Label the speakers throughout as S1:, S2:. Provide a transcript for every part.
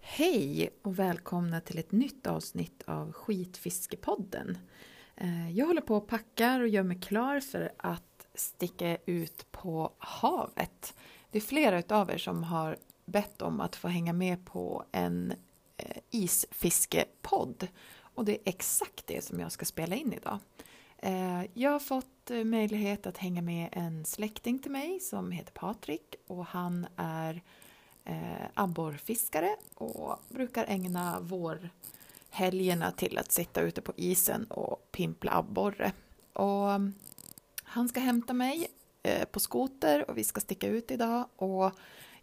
S1: Hej och välkomna till ett nytt avsnitt av Skitfiskepodden. Eh, Jag håller på och packar och gör mig klar för att sticka ut på havet. Det är flera utav er som har bett om att få hänga med på en eh, isfiskepodd och det är exakt det som jag ska spela in idag. Eh, Jag har fått eh, möjlighet att hänga med en släkting till mig som heter Patrik och han är eh, abborrfiskare och brukar ägna vårhelgerna till att sitta ute på isen och pimpla abborre. Och mm, han ska hämta mig eh, på skoter och vi ska sticka ut idag och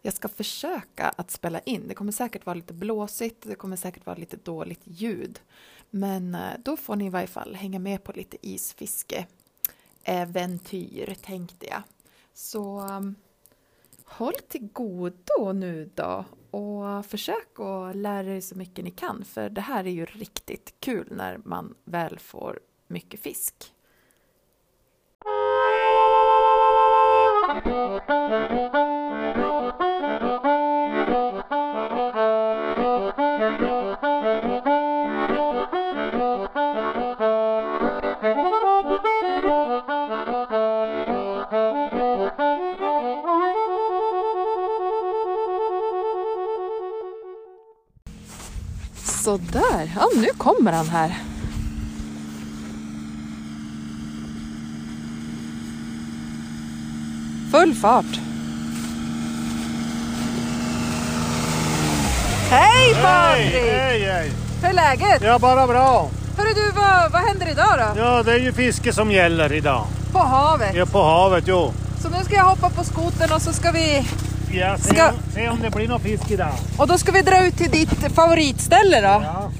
S1: jag ska försöka att spela in. Det kommer säkert vara lite blåsigt, det kommer säkert vara lite dåligt ljud. Men eh, då får ni i varje fall hänga med på lite isfiske äventyr tänkte jag. Så mm, Håll till godo nu då och försök att lära er så mycket ni kan för det här är ju riktigt kul när man väl får mycket fisk. Sådär, ja nu kommer han här. Full fart!
S2: Hej Patrik!
S3: Hej, hej, hej!
S2: Hur är läget?
S3: Ja, bara bra.
S2: Hörru du, vad, vad händer idag då?
S3: Ja, det är ju fiske som gäller idag.
S2: På havet.
S3: Ja, på havet, jo.
S2: Så nu ska jag hoppa på skotern och så ska vi...
S3: Ja, se,
S2: Ska-
S3: se om det blir någon fisk idag.
S2: Och då ska vi dra ut till ditt favoritställe då.
S3: Ja,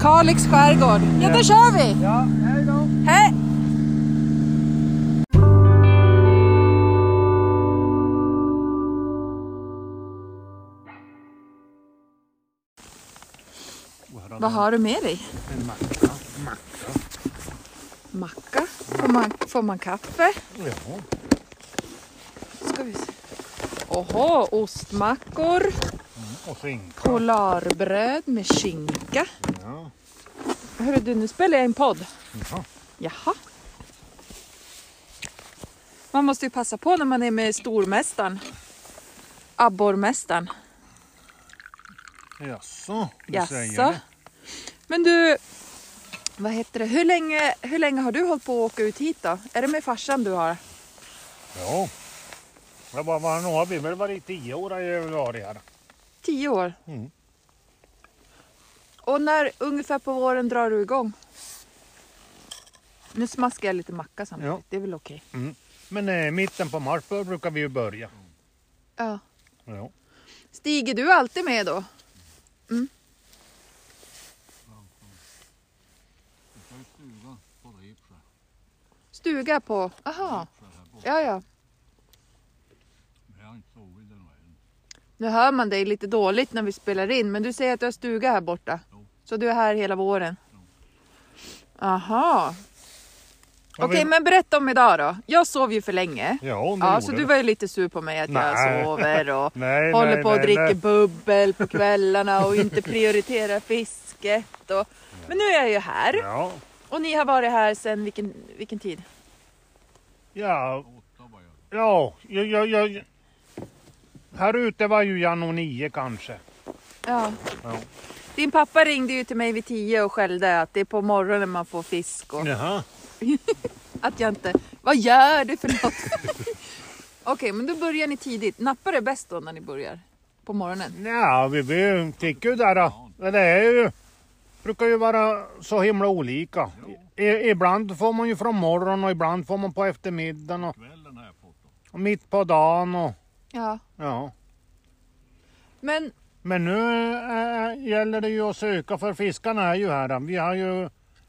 S2: Kalix skärgård. Ja, då kör vi!
S3: ja hej då.
S2: Hej!
S1: Vad har du med dig?
S3: En macka.
S1: Macka? Får man, får man kaffe?
S3: Ja.
S1: Ska vi se. Oho, ostmackor,
S3: Och skinka.
S1: polarbröd med skinka.
S3: Ja.
S1: Hörru du, nu spelar jag en podd.
S3: Ja.
S1: Jaha. Man måste ju passa på när man är med stormästaren. Abborrmästaren.
S3: Jaså, du säger
S1: Jaså?
S3: det.
S1: Men du, vad heter det? Hur länge, hur länge har du hållit på att åka ut hit då? Är det med farsan du har?
S3: Ja. Jag bara, vad, nu har vi väl varit i tio år har jag väl varit här.
S1: Tio år?
S3: Mm.
S1: Och när ungefär på våren drar du igång? Nu smaskar jag lite macka samtidigt,
S3: Ja.
S1: det är väl okej?
S3: Men eh, mitten på mars bör- brukar vi ju börja.
S1: Ja.
S3: Ja.
S1: Stiger du alltid med då? Mm. Stuga på? Aha. Ja, ja. Nu hör man dig lite dåligt när vi spelar in, men du säger att du har stuga här borta. Så du är här hela våren? Aha.
S3: Ja,
S1: Okej,
S3: vi-
S1: men berätta om idag då. Jag sov ju för länge.
S3: Ja, nu
S1: Ja,
S3: gjorde
S1: så
S3: det.
S1: du var ju lite sur på mig att jag
S3: Nej.
S1: sover och
S3: Nej,
S1: håller
S3: nej,
S1: på och
S3: nej,
S1: dricker
S3: nej.
S1: bubbel på kvällarna och inte prioriterar fisket. Och... Men nu är jag ju här
S3: Ja.
S1: och ni har varit här sedan vilken, vilken tid?
S3: Ja. Ja, jag, jag, jag... Här ute var ju jag nog nio kanske.
S1: Ja.
S3: Ja.
S1: Din pappa ringde ju till mig vid tio och skällde att det är på morgonen man får fisk och
S3: Jaha.
S1: att jag inte... Vad gör du för något? Okej, men då börjar ni tidigt. Nappar är bäst då när ni börjar? På morgonen?
S3: Ja, vi, vi fick ju där. då. Men Det är ju, brukar ju vara så himla olika. I, ibland får man ju från morgon och ibland får man på eftermiddagen och, och mitt på dagen. Och,
S1: Ja.
S3: ja.
S1: Men
S3: Men nu äh, gäller det ju att söka för fiskarna är ju här. då. Vi har ju,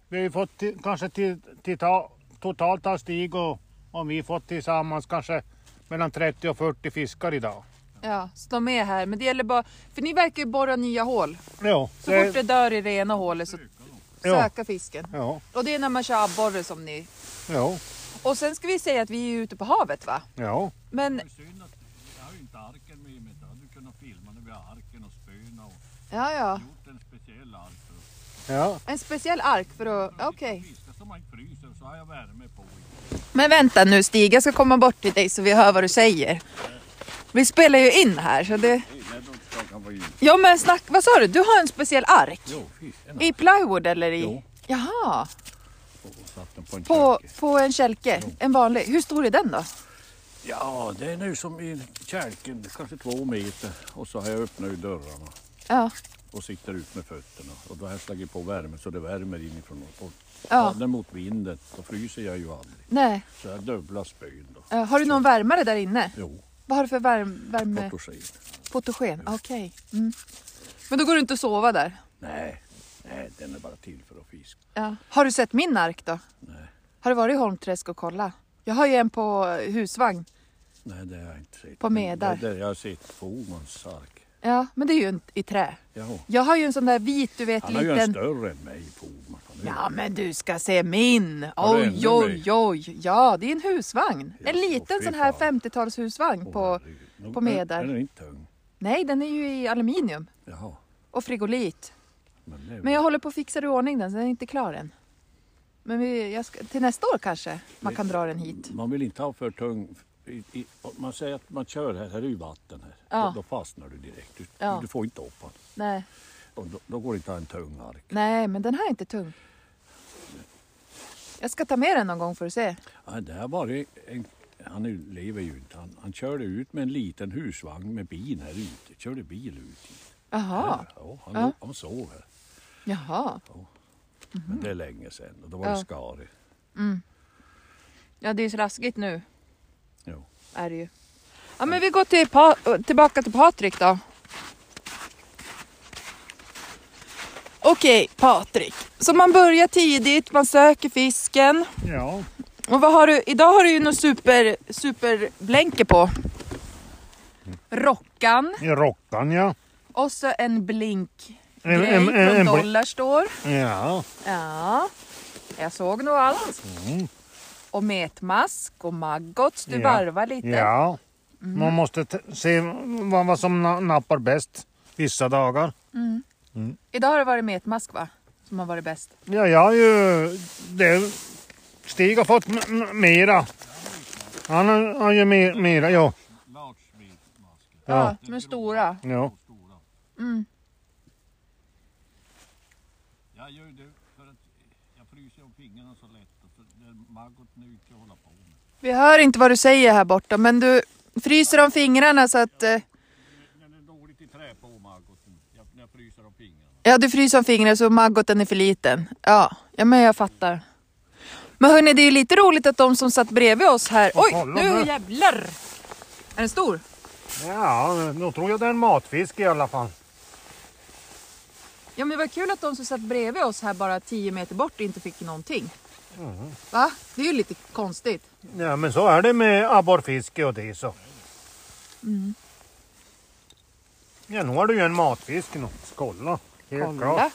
S3: vi har ju fått ti- kanske till, till ta, totalt har Stig och, och vi fått tillsammans kanske mellan 30 och 40 fiskar idag.
S1: ja, så de är här. Men det gäller bara... För ni verkar ju borra nya hål.
S3: Ja,
S1: Så fort det dör i det ena hålet så
S3: Ja.
S1: söka fisken.
S3: ja,
S1: Och det är när man kör abborre som ni...
S3: ja,
S1: Och sen ska vi säga att vi är ute på havet va?
S3: ja.
S1: Men
S4: synd att jag har ju inte arken med mig. Jag hade kunnat filma när vi har arken och spöna och
S1: Ja, ja.
S4: gjort en speciell ark. för att-
S3: Ja.
S1: En speciell ark för att...
S4: för att
S1: Okej.
S4: inte Fiska så man inte fryser så har jag värme på. i.
S1: Men vänta nu Stig, jag ska komma bort till dig så vi hör vad du säger. Vi spelar ju in här så det...
S4: Det är då jag kan vara i.
S1: Ja men snack, vad sa du? Du har en speciell ark?
S4: Jo, fisk. En
S1: I plywood eller i?
S4: Jo.
S1: Jaha,
S4: ark och satt den på en
S1: på,
S4: kälke.
S1: på en kälke? En vanlig? Hur stor är den då?
S4: Ja, det är nu som i kälken, kanske två meter. Och så har jag öppnat dörrarna
S1: Ja,
S4: och sitter ut med fötterna. Och då har jag slagit på värme så det värmer inifrån. Och
S1: Ja.
S4: ja. mot vinden, då fryser jag ju aldrig.
S1: nej.
S4: Så jag har dubbla spön då.
S1: Eh, Har du någon värmare där inne?
S4: Jo,
S1: Vad har du för värm, värme?
S4: fotogen.
S1: Fotogen? Okej. Mm. Men då går du inte att sova där?
S4: Nej, nej, den är bara till för att fiska.
S1: Ja. Har du sett min ark då?
S4: Nej,
S1: Har du varit i Holmträsk och kollat? Jag har ju en på husvagn.
S4: nej det har jag inte sett.
S1: På Medar.
S4: Det, det jag har sett på Omans ark.
S1: Ja, men det är ju en, i trä.
S4: Ja.
S1: Jag har ju en sån där vit, du vet,
S4: Han har ju en
S1: liten...
S4: större än mig på Oman. Han är ju-
S1: Ja, men du ska se min!
S4: Har du
S1: Oj,
S4: ännu
S1: oj,
S4: mer?
S1: oj! Ja, det är en husvagn.
S4: Ja,
S1: En liten
S4: fy
S1: sån här
S4: fan.
S1: 50-talshusvagn
S4: Åh,
S1: på...
S4: herregud. Nog-
S1: på Medar.
S4: Den är inte tung.
S1: Nej, den är ju i aluminium
S4: Jaha.
S1: och frigolit.
S4: Men, det är
S1: Men jag håller på att fixa i ordning den, så den är inte klar än. Men vi, jag ska, till nästa år kanske man kan dra den hit.
S4: Man vill inte ha för tung... I, i, om man säger att man kör här, här är ju vatten här.
S1: Ja.
S4: Då, då fastnar du direkt. Du,
S1: Ja.
S4: du får inte upp den.
S1: Nej,
S4: Och då, då går det inte att ha en tung ark.
S1: nej, men den här är inte tung. Jag ska ta med den någon gång för att se.
S4: Ja, det har varit en, han är- lever ju inte. Han, han körde ut med en liten husvagn med bin här ute. Körde bil ut hit.
S1: Jaha,
S4: Här, Ja, han,
S1: Ja.
S4: han sov här.
S1: jaha.
S4: Men det är länge sedan och då var
S1: Ja.
S4: det skare.
S1: Ja, det är ju så raskigt nu.
S4: Jo.
S1: är det ju. Ja, men vi går till pa- tillbaka till Patrik då. Okej, Patrik. Så man börjar tidigt, man söker fisken.
S3: ja.
S1: Och vad har du? Idag har du ju något super, superblänke på. Mm. Rockan
S3: I Rockan ja.
S1: och så en blink
S3: En- en- en-
S1: från
S3: en-
S1: Dollar står.
S3: Ja.
S1: Ja, jag såg nog allt. Och metmask och maggots. Du
S3: Ja.
S1: varvar lite.
S3: Ja.
S1: Mm.
S3: Man måste t- se vad, vad som na- nappar bäst vissa dagar.
S1: Idag har det varit metmask va? Som har varit bäst.
S3: Ja, jag har ju... Det, Stig har fått m- m- mera. Han har, har ju mer, mera, ja.
S4: Lartsmetmasker.
S1: Ja, de är stora.
S3: ja.
S4: stora. Jag gör det för att jag fryser om fingrarna så lätt. Och så det är maggot nu inte hålla på med.
S1: Vi hör inte vad du säger här borta, men du fryser om fingrarna så att... eh,
S4: Den är dåligt i trä på maggoten. Jag, när jag fryser om fingrarna.
S1: Ja, du fryser om fingrarna så maggoten är för liten. Ja, ja men jag fattar. Men hörni, det är ju lite roligt att de som satt bredvid oss här... Oj,
S3: kolla
S1: nu
S3: här.
S1: jävlar! Är den stor?
S3: Ja, då tror jag det är en matfisk i alla fall.
S1: Ja, men vad kul att de som satt bredvid oss här bara 10 meter bort inte fick någonting.
S3: Mm.
S1: Va? Det är ju lite konstigt.
S3: Ja, men så är det med abborrfiske och det så. Ja, nu har du ju en matfisk nu. Kolla. Helt klart.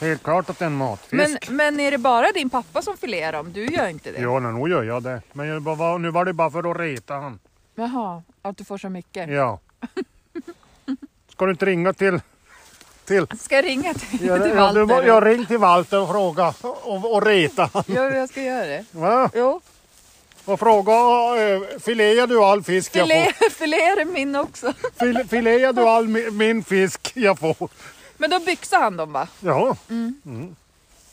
S3: Helt klart att det är en matfisk.
S1: Men, men är det bara din pappa som filerar dem? Du gör inte det?
S3: Ja, nej, nog gör jag det. Men jag bara, nu var det bara för att reta han.
S1: Jaha, att du får så mycket.
S3: Ja. Ska du inte ringa till... till...
S1: Ska jag ringa till,
S3: Ja,
S1: till
S3: ja, du,
S1: Walter?
S3: jag ringde till Walter och frågade och, och reta han.
S1: Ja, jag ska göra det.
S3: Va?
S1: Jo,
S3: Och fråga, eh, filear du all fisk jag
S1: filé,
S3: får?
S1: filé är min också.
S3: Fil, filear du all mi, min fisk jag får?
S1: Men då byxar han dem va?
S3: Ja,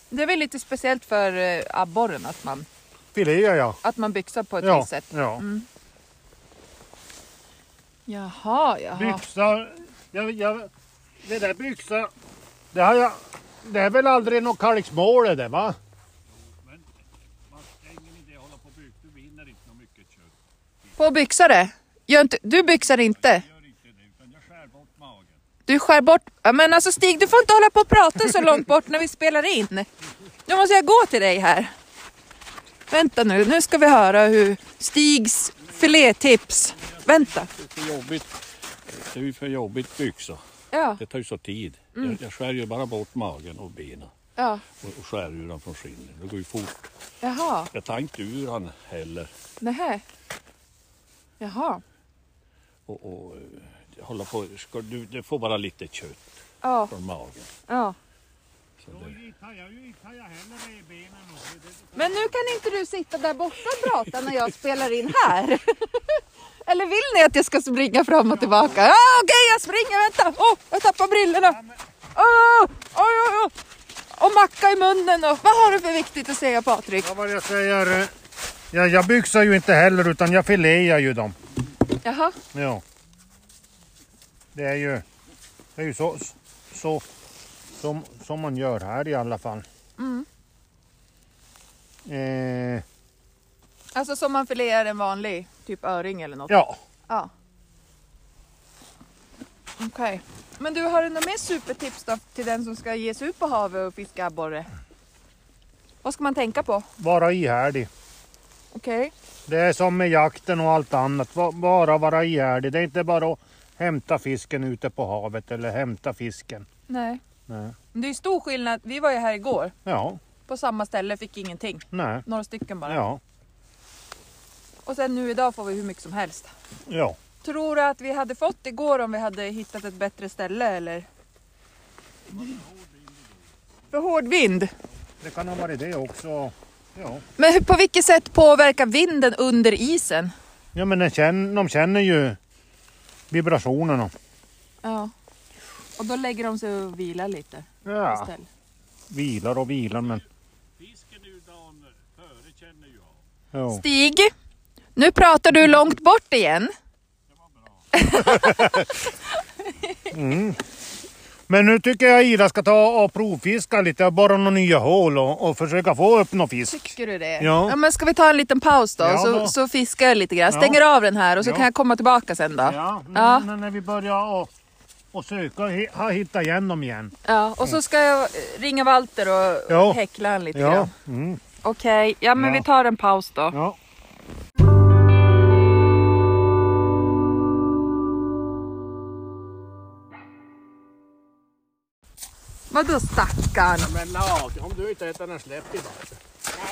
S1: Det är väl lite speciellt för eh, abborren att man,
S3: filear jag.
S1: att man byxar på ett
S3: Ja,
S1: visst sätt. Mm.
S3: ja.
S1: Jaha, jaha.
S3: Byxa, jag, jag, det där byxa, det har jag, det är väl aldrig något kalixmål är det va?
S4: Man ingen idé att hålla på och byta. Du vinner inte så mycket kött.
S1: På byxare? Gör inte, du byxar inte?
S4: Gör inte det utan jag skär bort magen.
S1: Du skär bort... Ja, men alltså Stig, du får inte hålla på och prata så långt bort när vi spelar in. Nu måste jag gå till dig här. Vänta nu, nu ska vi höra hur Stigs filétips. Vänta.
S4: Det är för jobbigt. Det är ju för jobbigt byxa.
S1: Ja,
S4: Det tar ju så tid. Jag, jag skär ju bara bort magen och benen.
S1: ja,
S4: Och, och skär ur den från skinnen. Det går ju fort.
S1: jaha,
S4: Jag tar inte ur han heller.
S1: nähä. Jaha.
S4: Och, och, eh, hålla på. Ska du, du får bara lite kött
S1: Ja,
S4: från magen.
S1: ja.
S4: Så det,
S3: Tar jag ju tar jag hellre i benen och det,
S1: Men nu kan inte du sitta där borta och prata när jag spelar in här. Eller vill ni att jag ska springa fram och tillbaka? Ja, okej, jag springer. Vänta! Åh, jag tappar brillorna. Åh, oj, oj, oj. Och macka i munnen. Och, vad har du för viktigt att säga Patrik?
S3: Ja, vad jag säger. eh, Ja, jag byxar ju inte heller utan jag filear ju dem.
S1: Jaha,
S3: Ja. Det är ju, det är ju så, så som, som man gör här i alla fall.
S1: Mm.
S3: Eh,
S1: alltså som man filear en vanlig typ öring eller något.
S3: ja,
S1: Ja. Okej. Men du, har du något mer supertips då till den som ska ge sig ut på havet och fiska abborre? Vad ska man tänka på?
S3: vara ihärdig.
S1: Okej.
S3: Det är som med jakten och allt annat. Va- Bara vara ihärdig. Det är inte bara att hämta fisken ute på havet eller hämta fisken.
S1: Nej.
S3: Nej.
S1: Men Det är ju stor skillnad. Vi var ju här igår
S3: Ja,
S1: på samma ställe, fick ingenting.
S3: nej.
S1: Några stycken bara.
S3: Ja,
S1: Och sen nu idag får vi hur mycket som helst.
S3: ja.
S1: Tror du att vi hade fått igår om vi hade hittat ett bättre ställe eller? För hård vind?
S3: Det kan ha varit det också. Ja,
S1: Men hur- på vilket sätt påverkar vinden under isen?
S3: ja men de känner, de känner ju vibrationerna.
S1: Ja. Och då lägger de sig och vilar lite
S3: Ja.
S1: istället.
S3: Vilar och vilar men...
S4: Fisken är ju dagen före känner jag.
S3: Ja.
S1: Stig, nu pratar du långt bort igen.
S3: Men nu tycker jag Ida ska ta och provfiska lite och borra några nya hål och, och försöka få upp någon fisk.
S1: Tycker du det?
S3: Ja.
S1: men ska vi ta en liten paus då?
S3: Ja,
S1: så,
S3: då.
S1: så fiskar jag lite grann.
S3: Ja.
S1: Stänger av den här och så
S3: Ja.
S1: kan jag komma tillbaka sen då. Ja.
S3: Ja,
S1: Ja.
S3: men när vi börjar och, och söka hi- ha- hitta igen dem igen.
S1: och så ska jag eh, ringa Walter och
S3: Ja.
S1: häckla han lite
S3: Ja,
S1: grann.
S3: mm,
S1: Okej, ja men
S3: Ja.
S1: vi tar en paus då.
S3: ja.
S1: Vadå stackarn?
S5: Men lag, om du inte äter den släpp idag.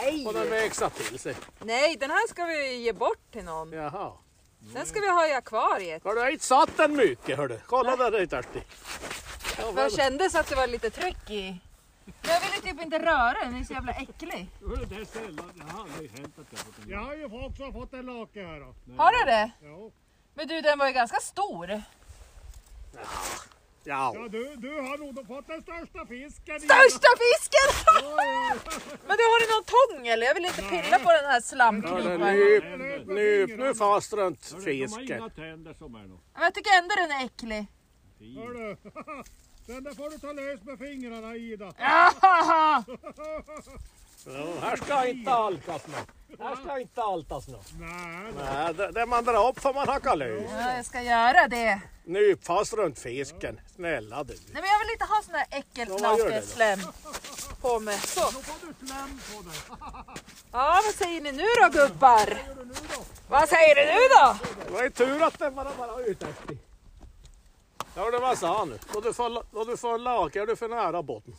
S1: Nej.
S5: Och den växlar till sig.
S1: Nej, den här ska vi ge bort till någon.
S5: Jaha.
S1: Den ska vi ha i akvariet.
S5: Har du inte satt den mycket hördu? Kolla där det är dirty. Ja,
S1: För
S5: men,
S1: jag kändes att det var lite tryck i. Men jag ville typ inte röra den, den är så jävla äcklig.
S3: Jag har ju också fått en lake här då.
S1: Har du det?
S3: Ja.
S1: Men du, den var ju ganska stor.
S5: ja.
S3: du, du har nog fått den största fisken.
S1: Största fisken! Men du, har du någon tång eller? Jag vill inte pilla på den här
S5: Hörru,
S1: slamkniven.
S5: Nyp, nyp nu fast runt
S4: De har inga
S5: fisken.
S4: tänder som är något.
S1: Men jag tycker ändå den är äcklig.
S3: Den där får du ta lös med fingrarna Ida.
S5: Ja, Här ska inte alkas nu. Här ska inte altas nu.
S3: Nej,
S5: Nej, det, det man drar upp får man hacka lös.
S1: Ja, jag ska göra det.
S5: Nyp fast runt fisken. Snälla du.
S1: Nej, men jag vill inte ha sån här
S5: Ja, vad gör du då?
S1: äckelknappeslem på mig. Så. Ja, vad säger ni nu då gubbar? Vad säger du nu då?
S5: Det var ju tur att den bara bara ute efter. Hörde vad jag sa nu? Då du får, då du får en lake är du för nära botten.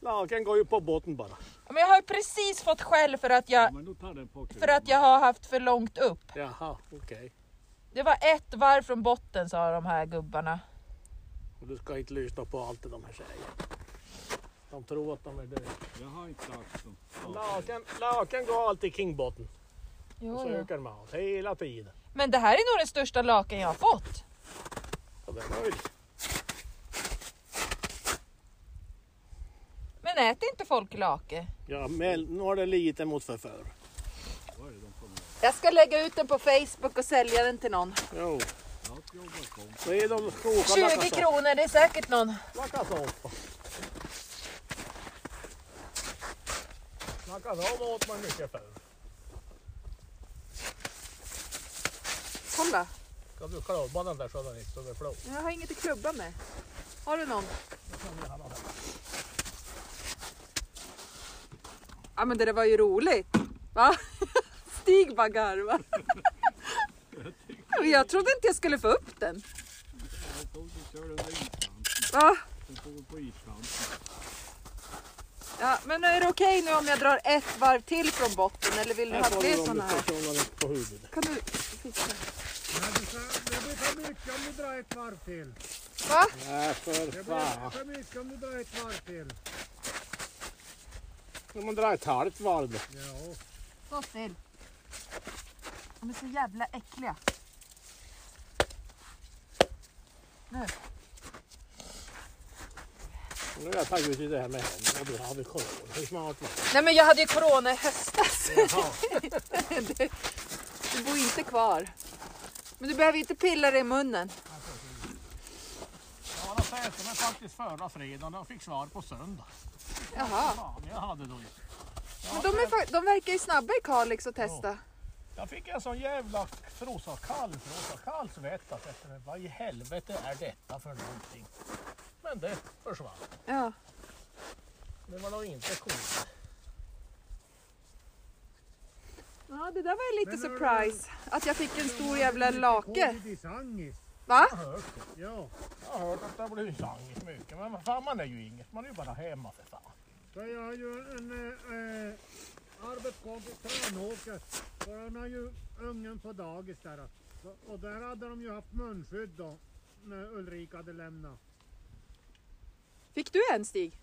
S5: Laken går ju på botten bara.
S1: Men jag har ju precis fått skäll för att jag,
S4: Men då tar den på
S1: för att jag har haft för långt upp.
S5: Jaha, okej.
S1: Det var ett varv från botten sa de här gubbarna.
S5: Och Du ska inte lyssna på allt det de här säger. De tror att de är döda.
S4: Jag har inte sagt dem.
S5: Laken, laken går alltid kring botten. Och
S1: Jo,
S5: så
S1: jo.
S5: ökar mat hela tiden.
S1: Men det här är nog den största lakan jag har fått.
S5: Ja, det är möjligt.
S1: Men äter inte folk lake?
S5: Ja, men nu har det lite mot förför.
S1: Jag ska lägga ut den på Facebook och sälja den till någon.
S5: Jo. Det är de skogarna
S1: 20 kronor, det är säkert någon.
S5: Snackas om. Snackas om åt man mycket förr.
S1: Kolla,
S5: Ska du klubba den där så den inte överflödar?
S1: jag har inget att klubba med. Har du någon? Ja men det där var ju roligt. Va? Stig bara garva. Men Jag trodde inte jag skulle få upp den. Va? Ja, men är det okej nu om jag drar ett varv till från botten eller vill du ha fler sådana här?
S5: Personen på huvudet.
S1: Kan du fiska?
S3: det blir för mycket om du drar ett varv till.
S1: Va?
S5: Nej, för
S3: Det blir
S5: fan.
S3: för mycket om du drar ett varv till.
S5: Om man drar ett halvt varv då.
S3: Ja.
S1: Stå still. De är så jävla äckliga.
S5: Nu har jag tagit ut i det här med händerna och du har vi corona. Hur smart var det?
S1: Nej men jag hade ju corona i höstas.
S5: Jaha.
S1: du, du bor inte kvar. Men du behöver inte pilla dig i munnen.
S5: Jag var säte mig faktiskt förra fredagen och fick svar på söndag.
S1: Jaha.
S5: Fan, jag hade då
S1: Men de, är, fa- de verkar ju snabba i Kalix att testa.
S5: Jag fick en sån jävla frossa kall, frossa kall svett att efter det, vad i helvete är detta för någonting? Men det försvann.
S1: Ja.
S5: Det var nog inte coolt.
S1: ja, det där var ju lite
S3: Men hörru,
S1: surprise. Att jag fick en stor jävla lake.
S3: Covid i Sangis.
S1: Va?
S3: Ja,
S5: Jag har hört att det har blivit sangigt mycket, men vad fan man är ju inget, man är ju bara hemma för fan.
S3: för jag har ju en eh, eh, arbetskompis Tranåker och han har ju ungen på dagis där. Och där hade de ju haft munskydd då när Ulrika hade lämnat.
S1: Fick du en Stig?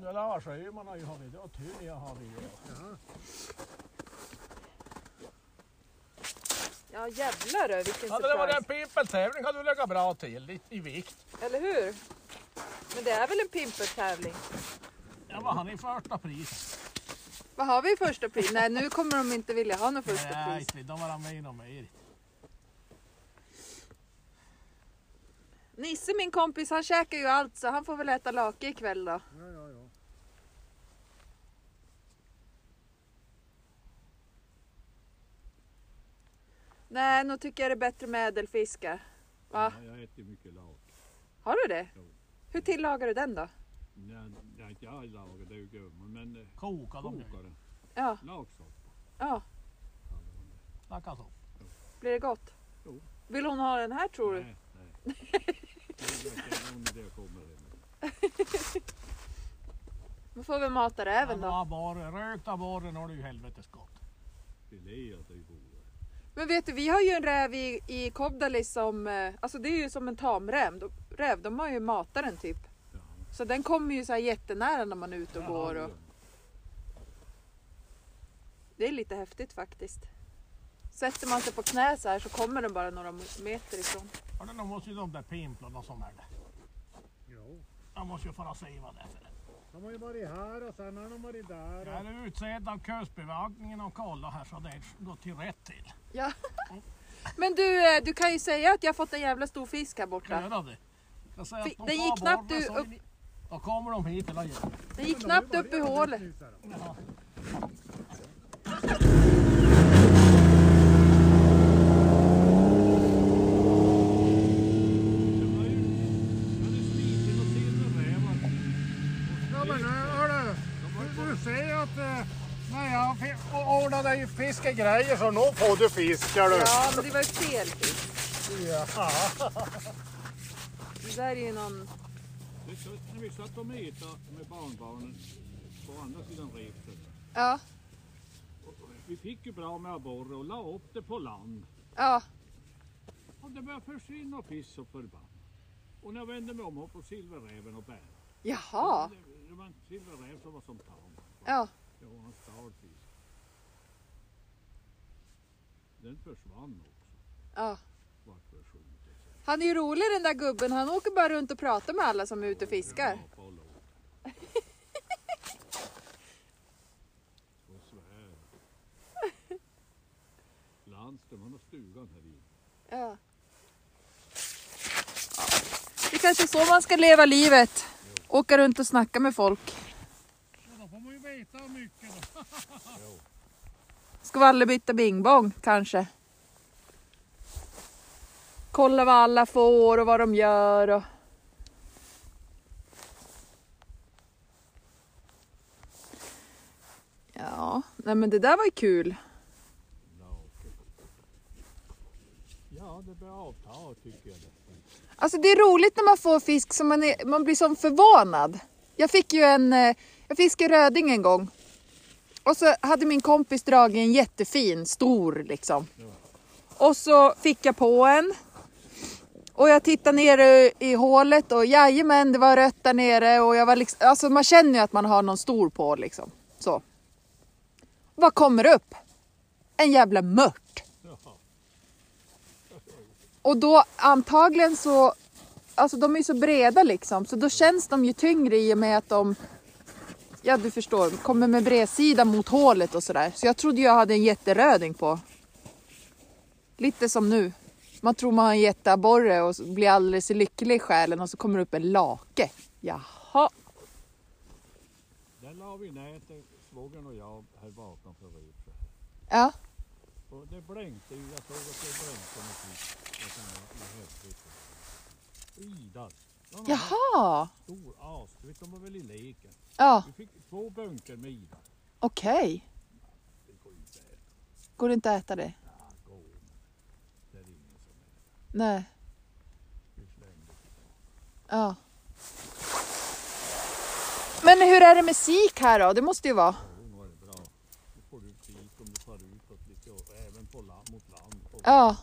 S5: Ja, Lars Öhman har ju haft det och Tynia har vi ju.
S3: Ja.
S1: Ja jävlar du, vilken
S5: Hade det varit en
S1: surprise.
S5: pimpeltävling hade du legat bra till i, i vikt.
S1: Eller hur? Men det är väl en pimpertävling?
S5: Ja, vad han i första pris.
S1: Vad har vi i första pris? Nej nu kommer de inte vilja ha något första
S5: Nej,
S1: pris.
S5: inte, de var med inom mig.
S1: Nisse min kompis han käkar ju allt så han får väl äta lake ikväll då.
S3: Ja, ja, ja.
S1: Nej, nog tycker jag det är bättre med ädelfiskar. Va?
S4: Ja, jag äter mycket lak.
S1: Har du det?
S4: Jo.
S1: Hur tillagar du den då?
S4: Nej, nej, inte jag lagar, det är ju gummor. Men eh,
S5: Koka dem
S4: kokar
S5: nu.
S4: den.
S1: Ja,
S4: Laksoppa.
S1: ja.
S5: Snacka så.
S1: Blir det gott?
S4: Jo.
S1: Vill hon ha den här tror du?
S4: Nej, nej. Det är verkligen om det kommer det.
S1: Då får vi mata räven då.
S5: Ja, bara, rökt av borren har du ju helvetes gott.
S4: Filé att det är godare.
S1: Men vet du, vi har ju en räv i, i Kobdali som, eh, alltså det är ju som en tamräv. De, räv, de har ju matat den typ. Så den kommer ju så här jättenära när man är ute och går. Och... Det är lite häftigt faktiskt. Sätter man sig på knä så här så kommer den bara några meter ifrån.
S5: Ja, men de måste ju de där pimplarna som är det.
S3: Jo.
S5: De måste ju föra sig vad det är för det.
S3: De har ju varit här och sen har de varit där.
S5: Jag är utsedd av kustbevakningen och kollar här så det har gått till rätt till.
S1: Ja. Men du, eh, du kan ju säga att jag fått en jävla stor fisk här
S5: Kan
S1: borta.
S5: jag göra det? Jag säger
S1: Fi-
S5: att de
S1: den
S5: tar
S1: gick knappt
S5: borren
S1: du
S5: så är
S1: upp-
S5: ni- Då kommer de hit hela gänget.
S1: Den gick knappt upp i hålet.
S5: Ja.
S3: Ja men hörru, du ser att eh, när jag fi- och ordnar dig fiskegrejer så nog får du fisk. Gör du.
S1: Ja, men det var ju fel fisk.
S3: Ja.
S1: Det där är ju någon...
S4: Det är så- När vi satt och metade med barnbarnen på andra sidan repet.
S1: Ja,
S4: Vi fick ju bra med abborre och la upp det på land.
S1: ja,
S4: Och det började försvinna piss och förbann. Och när jag vände mig om hoppade silverräven och bär.
S1: jaha,
S4: Det, det var en silverräv som var som tam.
S1: ja.
S4: Ja, han stal fisk. Den försvann också.
S1: Ja.
S4: Vart försvunnit.
S1: Han är ju rolig den där gubben. Han åker bara runt och pratar med alla som är ute och fiskar.
S4: Apa och låt. Och svär. Landström, han har stugan här i.
S1: Ja. Det kanske är så man ska leva livet. Åka runt och snacka med folk.
S3: Då får man ju veta mycket. Då.
S1: Skvallerbytta bingbong kanske. Kolla vad alla får och vad de gör. Och... Ja, nej men det där var ju kul.
S4: Ja, det börjar avta tycker jag. Det.
S1: Alltså det är roligt när man får fisk som man, är, man blir som förvånad. Jag fick ju en, eh, jag fiskade röding en gång. Och så hade min kompis dragit en jättefin, stor liksom. Och så fick jag på en. Och jag tittade ner i- i hålet och jajamän, det var rött där nere. Och jag var liksom, alltså man känner ju att man har någon stor på liksom. Så. Vad kommer upp? En jävla mört. Och då antagligen så, alltså de är ju så breda liksom, så då känns de ju tyngre i och med att de, ja du förstår, kommer med bredsida mot hålet och sådär. Så jag trodde jag hade en jätteröding på. Lite som nu. Man tror man har en jätteabborre och så blir alldeles lycklig i själen och så kommer det upp en lake. Jaha.
S4: Där la vi nätet, svågern och jag, här bakom för repet.
S1: Ja.
S4: Och det blänkte ju, jag såg att det blänkte något vitt. Jag kan ha- jag har hört det. Idar. Någon
S1: Jaha.
S4: stor as, du vet de var väl i leken.
S1: Ja,
S4: Vi fick två bunker med idar.
S1: okej. Går det inte att äta det? Nej. Ja. Men hur är det med sik här då? Det måste ju vara.
S4: Då får du fik om du far utåt lite och även på land, mot land. Och
S1: Ja,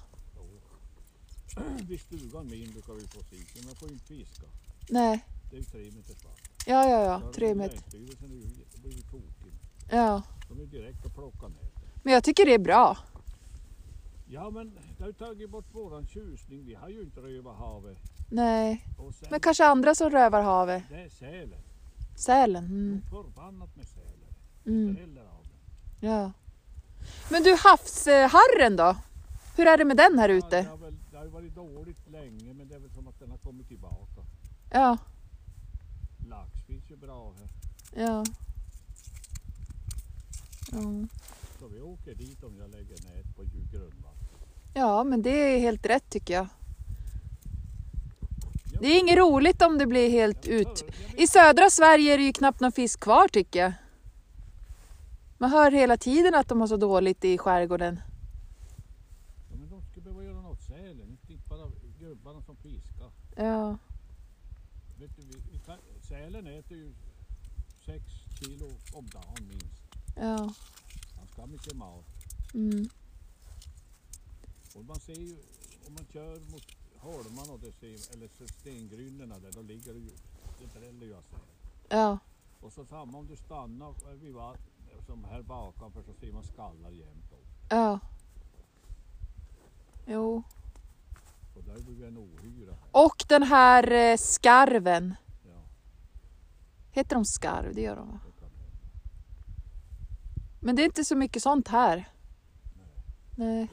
S4: vid stugan min brukar vi få sik, men man får ju inte fiska.
S1: nej.
S4: Det är ju tre meters vatten.
S1: Ja, ja, ja.
S4: Där
S1: Tre
S4: har
S1: meter.
S4: Länsstyrelsen är ju de blir ju tokig.
S1: Ja.
S4: De är direkt och plockar nätet.
S1: Men jag tycker det är bra.
S4: Ja men det har ju tagit bort våran tjusning. Vi har ju inte rövat havet.
S1: Nej.
S4: Och sen,
S1: Men kanske andra som rövar havet.
S4: det är sälen.
S1: Sälen. Mm.
S4: Förbannat med sälen.
S1: Mm.
S4: Dräller av den.
S1: Ja. Men du, havsharren då? Hur är det med den här
S4: Ja,
S1: ute?
S4: det, har väl, det har ju varit dåligt länge men det är väl som att den har kommit tillbaka.
S1: Ja,
S4: Lax finns ju bra här.
S1: ja. Mm.
S4: Så vi åker dit om jag lägger nät på djup grundvatten.
S1: Ja, men det är helt rätt tycker jag. Det är inget roligt om det blir helt ut. I södra Sverige är det ju knappt någon fisk kvar tycker jag. Man hör hela tiden att de har så dåligt i skärgården.
S4: Ja, men de skulle behöva göra något åt sälen, inte inte bara gubbarna som fiskar.
S1: Ja,
S4: Vet du, vi, vi kan, sälen äter ju 6 kilo om dagen minst.
S1: ja.
S4: Han ska ha mycket mat.
S1: Mm.
S4: Och man ser ju, om man kör mot holmarna och det ser, eller så stengrynnorna där, då ligger det ju, det dräller ju av säl.
S1: Ja,
S4: Och så samma om du stannar vid vattnet, som här bakom, för så ser man skallar jämt upp.
S1: ja. Jo.
S4: Och där blir det en ohyra.
S1: Och den här eh, skarven.
S4: Ja,
S1: Heter de skarv? Det gör de va?
S4: det kan hända.
S1: Men det är inte så mycket sånt här. Nej.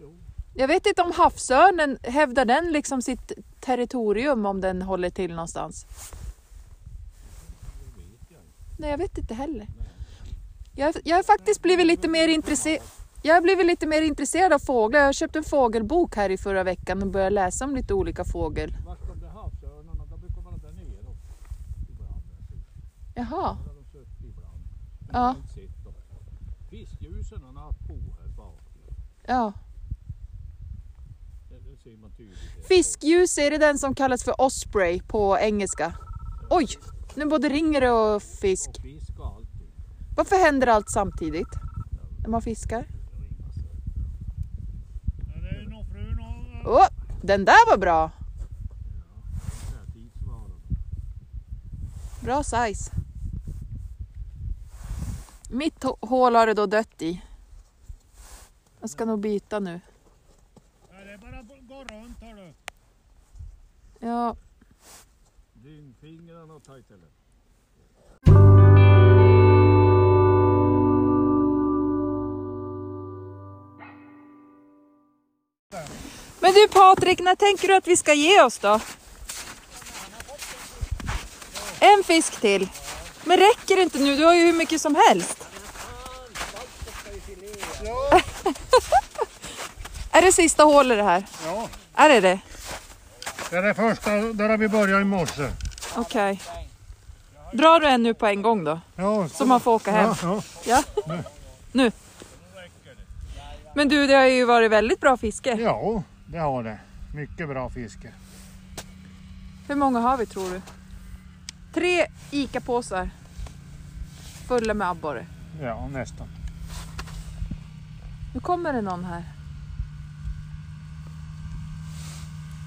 S4: Jo.
S1: Jag vet inte om havsörnen, hävdar den liksom sitt territorium om den håller till någonstans? Nej, jag vet inte heller. Jag, jag har faktiskt blivit lite mer intresserad. Jag har blivit lite mer intresserad av fåglar. Jag köpte en fågelbok här i förra veckan och började läsa om lite olika fågel.
S4: Vart de där havsörnarna, de brukar vara där nere också. Ibland.
S1: Jaha,
S4: Där har de suttit ibland. Men
S1: Ja.
S4: jag har inte sett dem. Fiskljusen han har på här bak.
S1: ja.
S4: Det, det ser man tydligt. här.
S1: Fiskljus är det den som kallas för osprey på engelska. Oj, nu både ringer det och fisk.
S4: Och fisk och allting.
S1: Varför händer allt samtidigt när man fiskar?
S3: Ja, Det är nog frun och...
S1: Åh, den där var bra!
S4: Det här tidsvaran.
S1: Bra size. Mitt hå- hål har det då dött i. Jag ska nog byta nu.
S3: Ja, det är bara att gå runt hör du.
S1: Ja,
S4: Dyngfingrarna och tajtelen.
S6: Men du Patrik, när tänker du att vi ska ge oss då? En fisk till. Men räcker det inte nu? Du har ju hur mycket som helst. är det sista hålet det här?
S3: Ja.
S6: Är det det?
S3: Det är det första, där har vi börjat i morse.
S6: Okej. Drar du en nu på en gång då?
S3: Ja,
S6: Så man får åka hem?
S3: ja, ja.
S6: Ja. Nu. Men du, det har ju varit väldigt bra fiske.
S3: ja, det har det. Mycket bra fiske.
S6: Hur många har vi tror du? Tre ICA-påsar. Fulla med abborre.
S3: Ja, nästan.
S6: Nu kommer det någon här.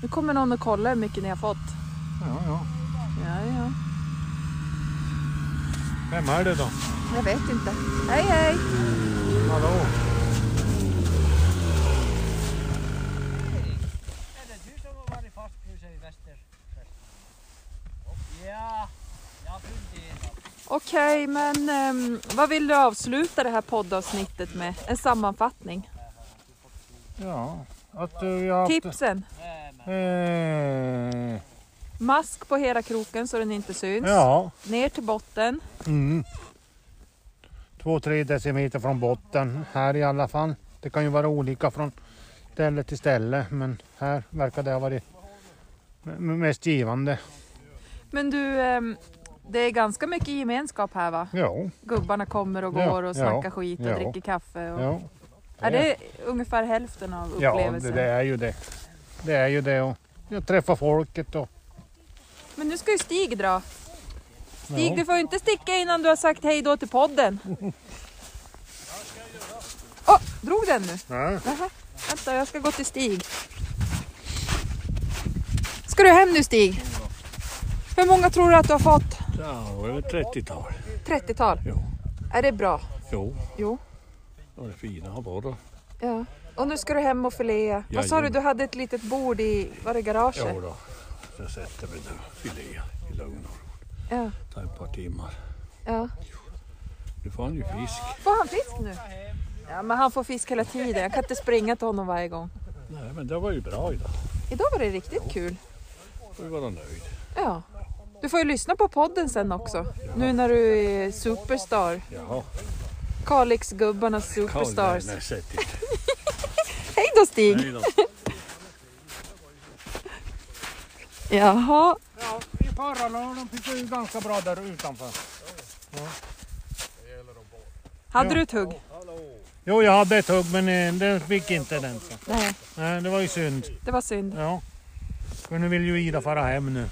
S1: Nu kommer någon och kollar hur mycket ni har fått.
S3: Ja, ja.
S1: Ja, ja.
S3: Vem är det då?
S1: Jag vet inte. Hej, hej!
S3: Hallå?
S5: Är det du som har varit fastfrusen i Västerskärsnäs? Ja, jag funderar.
S1: Okej, men ehm, vad vill du avsluta det här poddavsnittet med? En sammanfattning?
S3: Ja, att eh, vi har haft...
S1: Tipsen?
S5: Nej, men
S3: Eh,
S1: Mask på hela kroken så den inte syns.
S3: ja,
S1: Ner till botten.
S3: mm. Två, tre decimeter från botten här i alla fall. Det kan ju vara olika från ställe till ställe, men här verkar det ha varit m- mest givande.
S1: Men du, ehm, det är ganska mycket gemenskap här va?
S3: Ja,
S1: Gubbarna kommer och
S3: Ja,
S1: går och
S3: ja,
S1: snackar skit och
S3: ja.
S1: dricker kaffe. Och...
S3: ja.
S1: Är det ungefär hälften av
S3: Ja,
S1: upplevelsen?
S3: det, det är ju det. Det är ju det och jag träffar folket och...
S1: Men nu ska ju Stig dra. Stig,
S3: Ja.
S1: du får ju inte sticka innan du har sagt hej då till podden. Åh, drog den nu?
S3: Nej.
S1: Vänta, jag ska gå till Stig. Ska du hem nu Stig? Hur många tror du att du har fått?
S4: Ja, det var 30-tal.
S1: 30-tal?
S4: Jo.
S1: Är det bra?
S4: Jo,
S1: Jo.
S4: de är fina var det.
S1: Ja. Och nu ska du hem och filea. Vad sa du,
S4: Jajamän.
S1: du hade ett litet bord i, var det garaget?
S4: Jo då. Så sätter vi den filé i lugn och ro.
S1: Ja.
S4: Tar ett par timmar.
S1: ja.
S4: Nu får han ju fisk.
S1: Får han fisk nu? Ja, men han får fisk hela tiden. Jag kan inte springa till honom varje gång.
S4: Nej, men det var ju bra idag.
S1: Idag var det riktigt kul.
S4: Får vi vara nöjd.
S1: Ja. Du får ju lyssna på podden sen också. Nu när du är superstar.
S4: Jaha.
S1: Kalixgubbarnas
S4: Karl
S1: superstars.
S4: Werner sätter sig.
S1: Hej då Stig!
S4: Hej då.
S1: Jaha.
S3: Ja, i förra lördagen fick jag ju ganska bra där utanför.
S1: Hade du ett hugg?
S3: Jo, jag hade ett hugg men eh, den fick inte den. så.
S1: Nej,
S3: Nej, det var ju synd.
S1: det var synd.
S3: Ja. För nu vill ju Ida fara hem nu.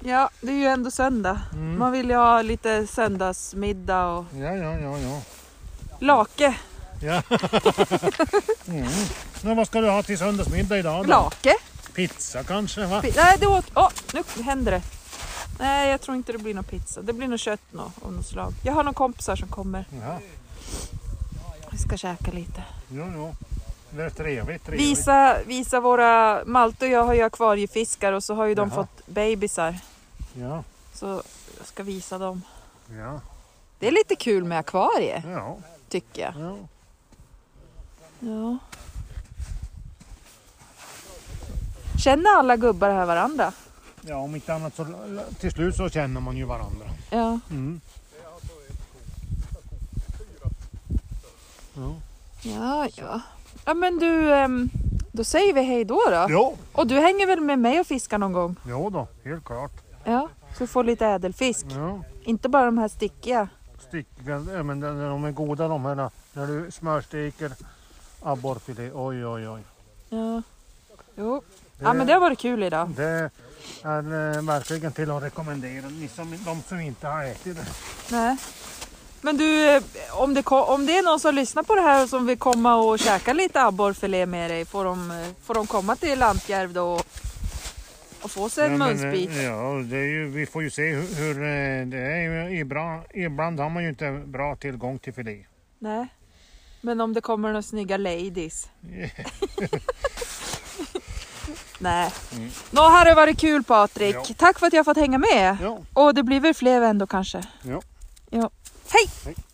S1: Ja, det är ju ändå söndag. Man vill ju ha lite söndagsmiddag och
S3: Ja, ja, ja, ja.
S1: lake.
S3: Men vad ska du ha till söndagsmiddag idag då?
S1: Lake?
S3: Pizza kanske va?
S1: Pi- Nej, det åt... Åh, nu händer det. Nej, jag tror inte det blir någon pizza. Det blir nog kött nå, av något slag. Jag har några kompisar som kommer.
S3: Ja,
S1: Vi ska käka lite.
S3: jo, jo. Det är trevligt, trevligt.
S1: Visa, visa våra... Malte och jag har ju akvariefiskar och så har ju de
S3: Jaha.
S1: fått bebisar.
S3: Ja,
S1: Så jag ska visa dem.
S3: ja,
S1: Det är lite kul med akvarie,
S3: ja,
S1: tycker jag.
S3: ja.
S1: Ja. Känner alla gubbar här varandra?
S3: Ja, om inte annat så till slut så känner man ju varandra.
S1: Ja.
S3: Mm.
S1: Ja, ja. Ja, men du, ehm, då säger vi hej då då.
S3: Jo,
S1: Och du hänger väl med mig och fiskar någon gång?
S3: jo då, helt klart.
S1: Ja, så du får lite ädelfisk.
S3: Ja.
S1: Inte bara de här stickiga.
S3: Stick, ja, men de- de är goda de här. När du smörsteker abborrfilé, oj oj oj.
S1: Ja. Jo. Ja,
S3: Eh.
S1: men det har varit kul idag.
S3: Det är eh, verkligen till att rekommendera, ni som, de som inte har ätit det.
S1: Nej. Men du, eh, om det, ko- om det är någon som lyssnar på det här och som vill komma och käka lite abborrfilé med dig, får de, eh, får de komma till Lantjärv då och, och få sig en
S3: Ja, men,
S1: munsbit?
S3: eh, Ja, det är ju, vi får ju se hur, hur eh, det är. ju Ibland, ibland har man ju inte bra tillgång till filé.
S1: Nej. Men om det kommer några snygga ladies? Nej. Nå, här har det varit kul Patrik.
S3: Mm. Ja.
S1: Tack för att jag har fått hänga med.
S3: Ja.
S1: Och det blir väl fler ändå kanske?
S3: Ja.
S1: ja. Hej!
S3: Hej.